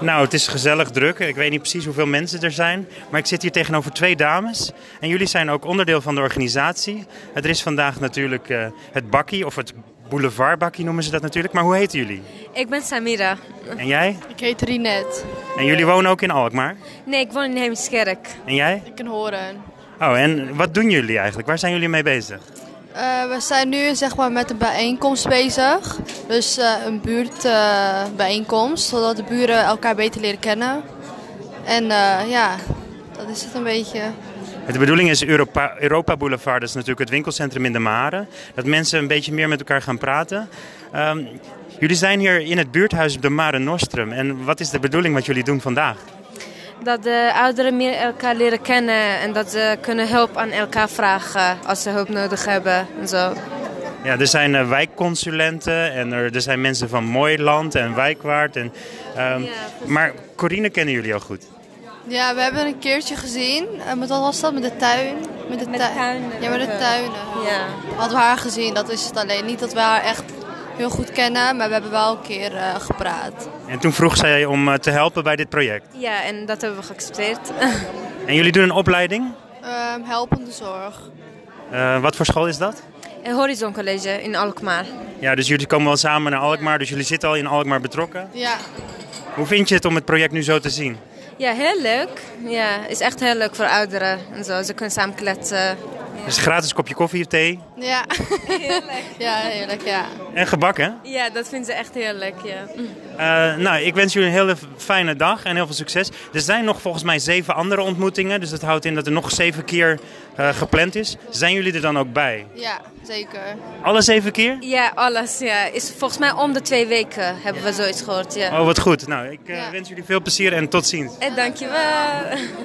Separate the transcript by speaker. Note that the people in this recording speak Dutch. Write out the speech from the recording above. Speaker 1: Nou, het is gezellig druk. Ik weet niet precies hoeveel mensen er zijn. Maar ik zit hier tegenover twee dames. En jullie zijn ook onderdeel van de organisatie. Er is vandaag natuurlijk eh, het bakkie, of het boulevardbakkie noemen ze dat natuurlijk. Maar hoe heten jullie?
Speaker 2: Ik ben Samira.
Speaker 1: En jij?
Speaker 3: Ik heet Rinet.
Speaker 1: En jullie wonen ook in Alkmaar?
Speaker 2: Nee, ik woon in Heemskerk.
Speaker 1: En jij?
Speaker 3: Ik kan horen.
Speaker 1: Oh, en wat doen jullie eigenlijk? Waar zijn jullie mee bezig?
Speaker 3: Eh, we zijn nu zeg maar, met een bijeenkomst bezig. Dus eh, een buurtbijeenkomst, zodat de buren elkaar beter leren kennen. En eh, ja, dat is het een beetje.
Speaker 1: De bedoeling is Europa, Europa Boulevard, dat is natuurlijk het winkelcentrum in de Mare. Dat mensen een beetje meer met elkaar gaan praten. Ehm, jullie zijn hier in het buurthuis op de Mare Nostrum. En wat is de bedoeling wat jullie doen vandaag?
Speaker 2: Dat de ouderen meer elkaar leren kennen en dat ze kunnen hulp aan elkaar vragen als ze hulp nodig hebben en zo.
Speaker 1: Ja, er zijn eh, wijkconsulenten en er, er zijn mensen van Mooiland en Wijkwaard. En, ehm, maar Corine kennen jullie al goed.
Speaker 3: Ja, we hebben een keertje gezien. Eh, met wat was dat? Met de tuin? Met de,
Speaker 2: de
Speaker 3: tui-
Speaker 2: tuinen.
Speaker 3: Ja, met de tuinen.
Speaker 2: Ja.
Speaker 3: Hadden we haar gezien, dat is het alleen. Niet dat we haar echt heel goed kennen, maar we hebben wel een keer eh, gepraat.
Speaker 1: En toen vroeg zij om eh, te helpen bij dit project.
Speaker 2: Ja, en dat hebben we geaccepteerd.
Speaker 1: En jullie doen een opleiding.
Speaker 3: Ehm, helpende zorg.
Speaker 1: Eh, wat voor school is dat?
Speaker 2: Een Horizon College in Alkmaar.
Speaker 1: Ja, dus jullie komen wel samen naar Alkmaar, dus jullie zitten al in Alkmaar betrokken.
Speaker 3: Ja,
Speaker 1: Hoe vind je het om het project nu zo te zien?
Speaker 2: Ja, heel leuk. Ja, is echt heel leuk voor ouderen en zo. Ze kunnen samen kletsen.
Speaker 1: Het is een gratis kopje koffie of thee.
Speaker 3: ja. ja, heerlijk, ja.
Speaker 1: En gebak, hè?
Speaker 2: Ja, dat vinden ze echt heerlijk, ja.
Speaker 1: Eh, nou, ik wens jullie een hele fijne dag en heel veel succes. Er zijn nog volgens mij zeven andere ontmoetingen. Dus dat houdt in dat er nog zeven keer eh, gepland is. Zijn jullie er dan ook bij?
Speaker 3: Ja, zeker.
Speaker 1: Alle zeven keer?
Speaker 2: Ja, alles, ja. Is volgens mij om de twee weken hebben we zoiets gehoord, ja.
Speaker 1: Oh, wat goed. Nou, ik eh,
Speaker 3: Ja.
Speaker 1: wens jullie veel plezier en tot ziens.
Speaker 2: En Eh, dankjewel.